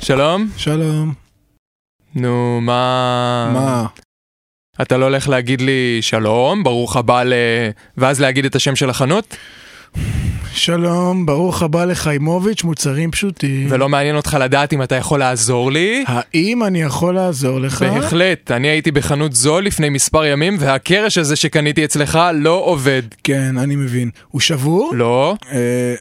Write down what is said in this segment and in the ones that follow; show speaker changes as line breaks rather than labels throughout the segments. שלום.
שלום.
נו, מה...
מה?
אתה לא הולך להגיד לי שלום, ברוך הבא ל... ואז להגיד את השם של החנות?
שלום, ברוך הבא לחיימוביץ', מוצרים פשוטים.
ולא מעניין אותך לדעת אם אתה יכול לעזור לי?
האם אני יכול לעזור לך?
בהחלט, אני הייתי בחנות זו לפני מספר ימים, והקרש הזה שקניתי אצלך לא עובד.
כן, אני מבין. הוא שבור?
לא,
אה,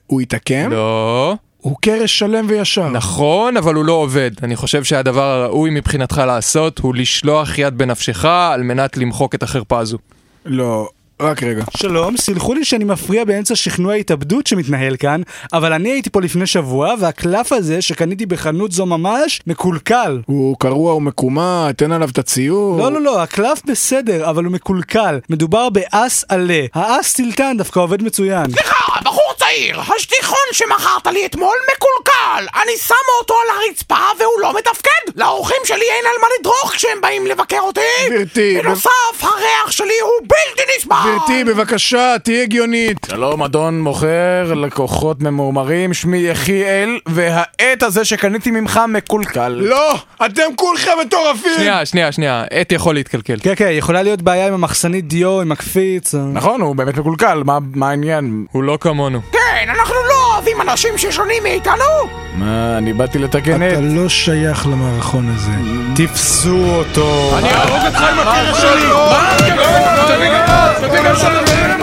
הוא התעקם?
לא,
הוא קרש שלם וישר.
נכון, אבל הוא לא עובד. אני חושב שהדבר הראוי מבחינתך לעשות הוא לשלוח יד בנפשך על מנת למחוק את החרפה הזו.
לא, רק רגע.
שלום, סלחו לי שאני מפריע באמצע שכנוע ההתאבדות שמתנהל כאן, אבל אני הייתי פה לפני שבוע, והקלף הזה שקניתי בחנות זו ממש מקולקל.
הוא קרוע ומקומט, תן עליו את הציור.
לא, לא, לא, הקלף בסדר, אבל הוא מקולקל. מדובר באס עלה. האס טילטן דווקא עובד מצוין.
סליחה, אה, בחור צעיר, השטיחון שמכרת לי אתמול מקולקל. אני שמה אותו על הרצפה והוא לא מתפקד. לאורחים שלי אין על מה לדרוך כשהם באים לבקר אותי.
גברתי,
בנוסף, הריח שלי הוא בלתי נסבל.
גברתי, בבקשה, תהיי הגיונית.
שלום אדון מוכר לקוחות ממורמרים, שמי יחיאל, והעט הזה שקניתי ממך מקולקל.
לא! אתם כולכם מטורפים!
שנייה, שנייה, שנייה, עט יכול להתקלקל.
כן, כן, יכולה להיות בעיה עם המחסנית דיו, עם הקפיץ. אה.
נכון, הוא באמת מקולקל, מה- מה העניין?
הוא לא כמונו.
כן, אנחנו לא אוהבים אנשים ששונים מאיתנו.
מה, אני באתי לתקן
אתה
את...
לא שייך למערכון הזה.
תפסו אותו.
אני אהרוג אותך עם הקרש שלי! מה?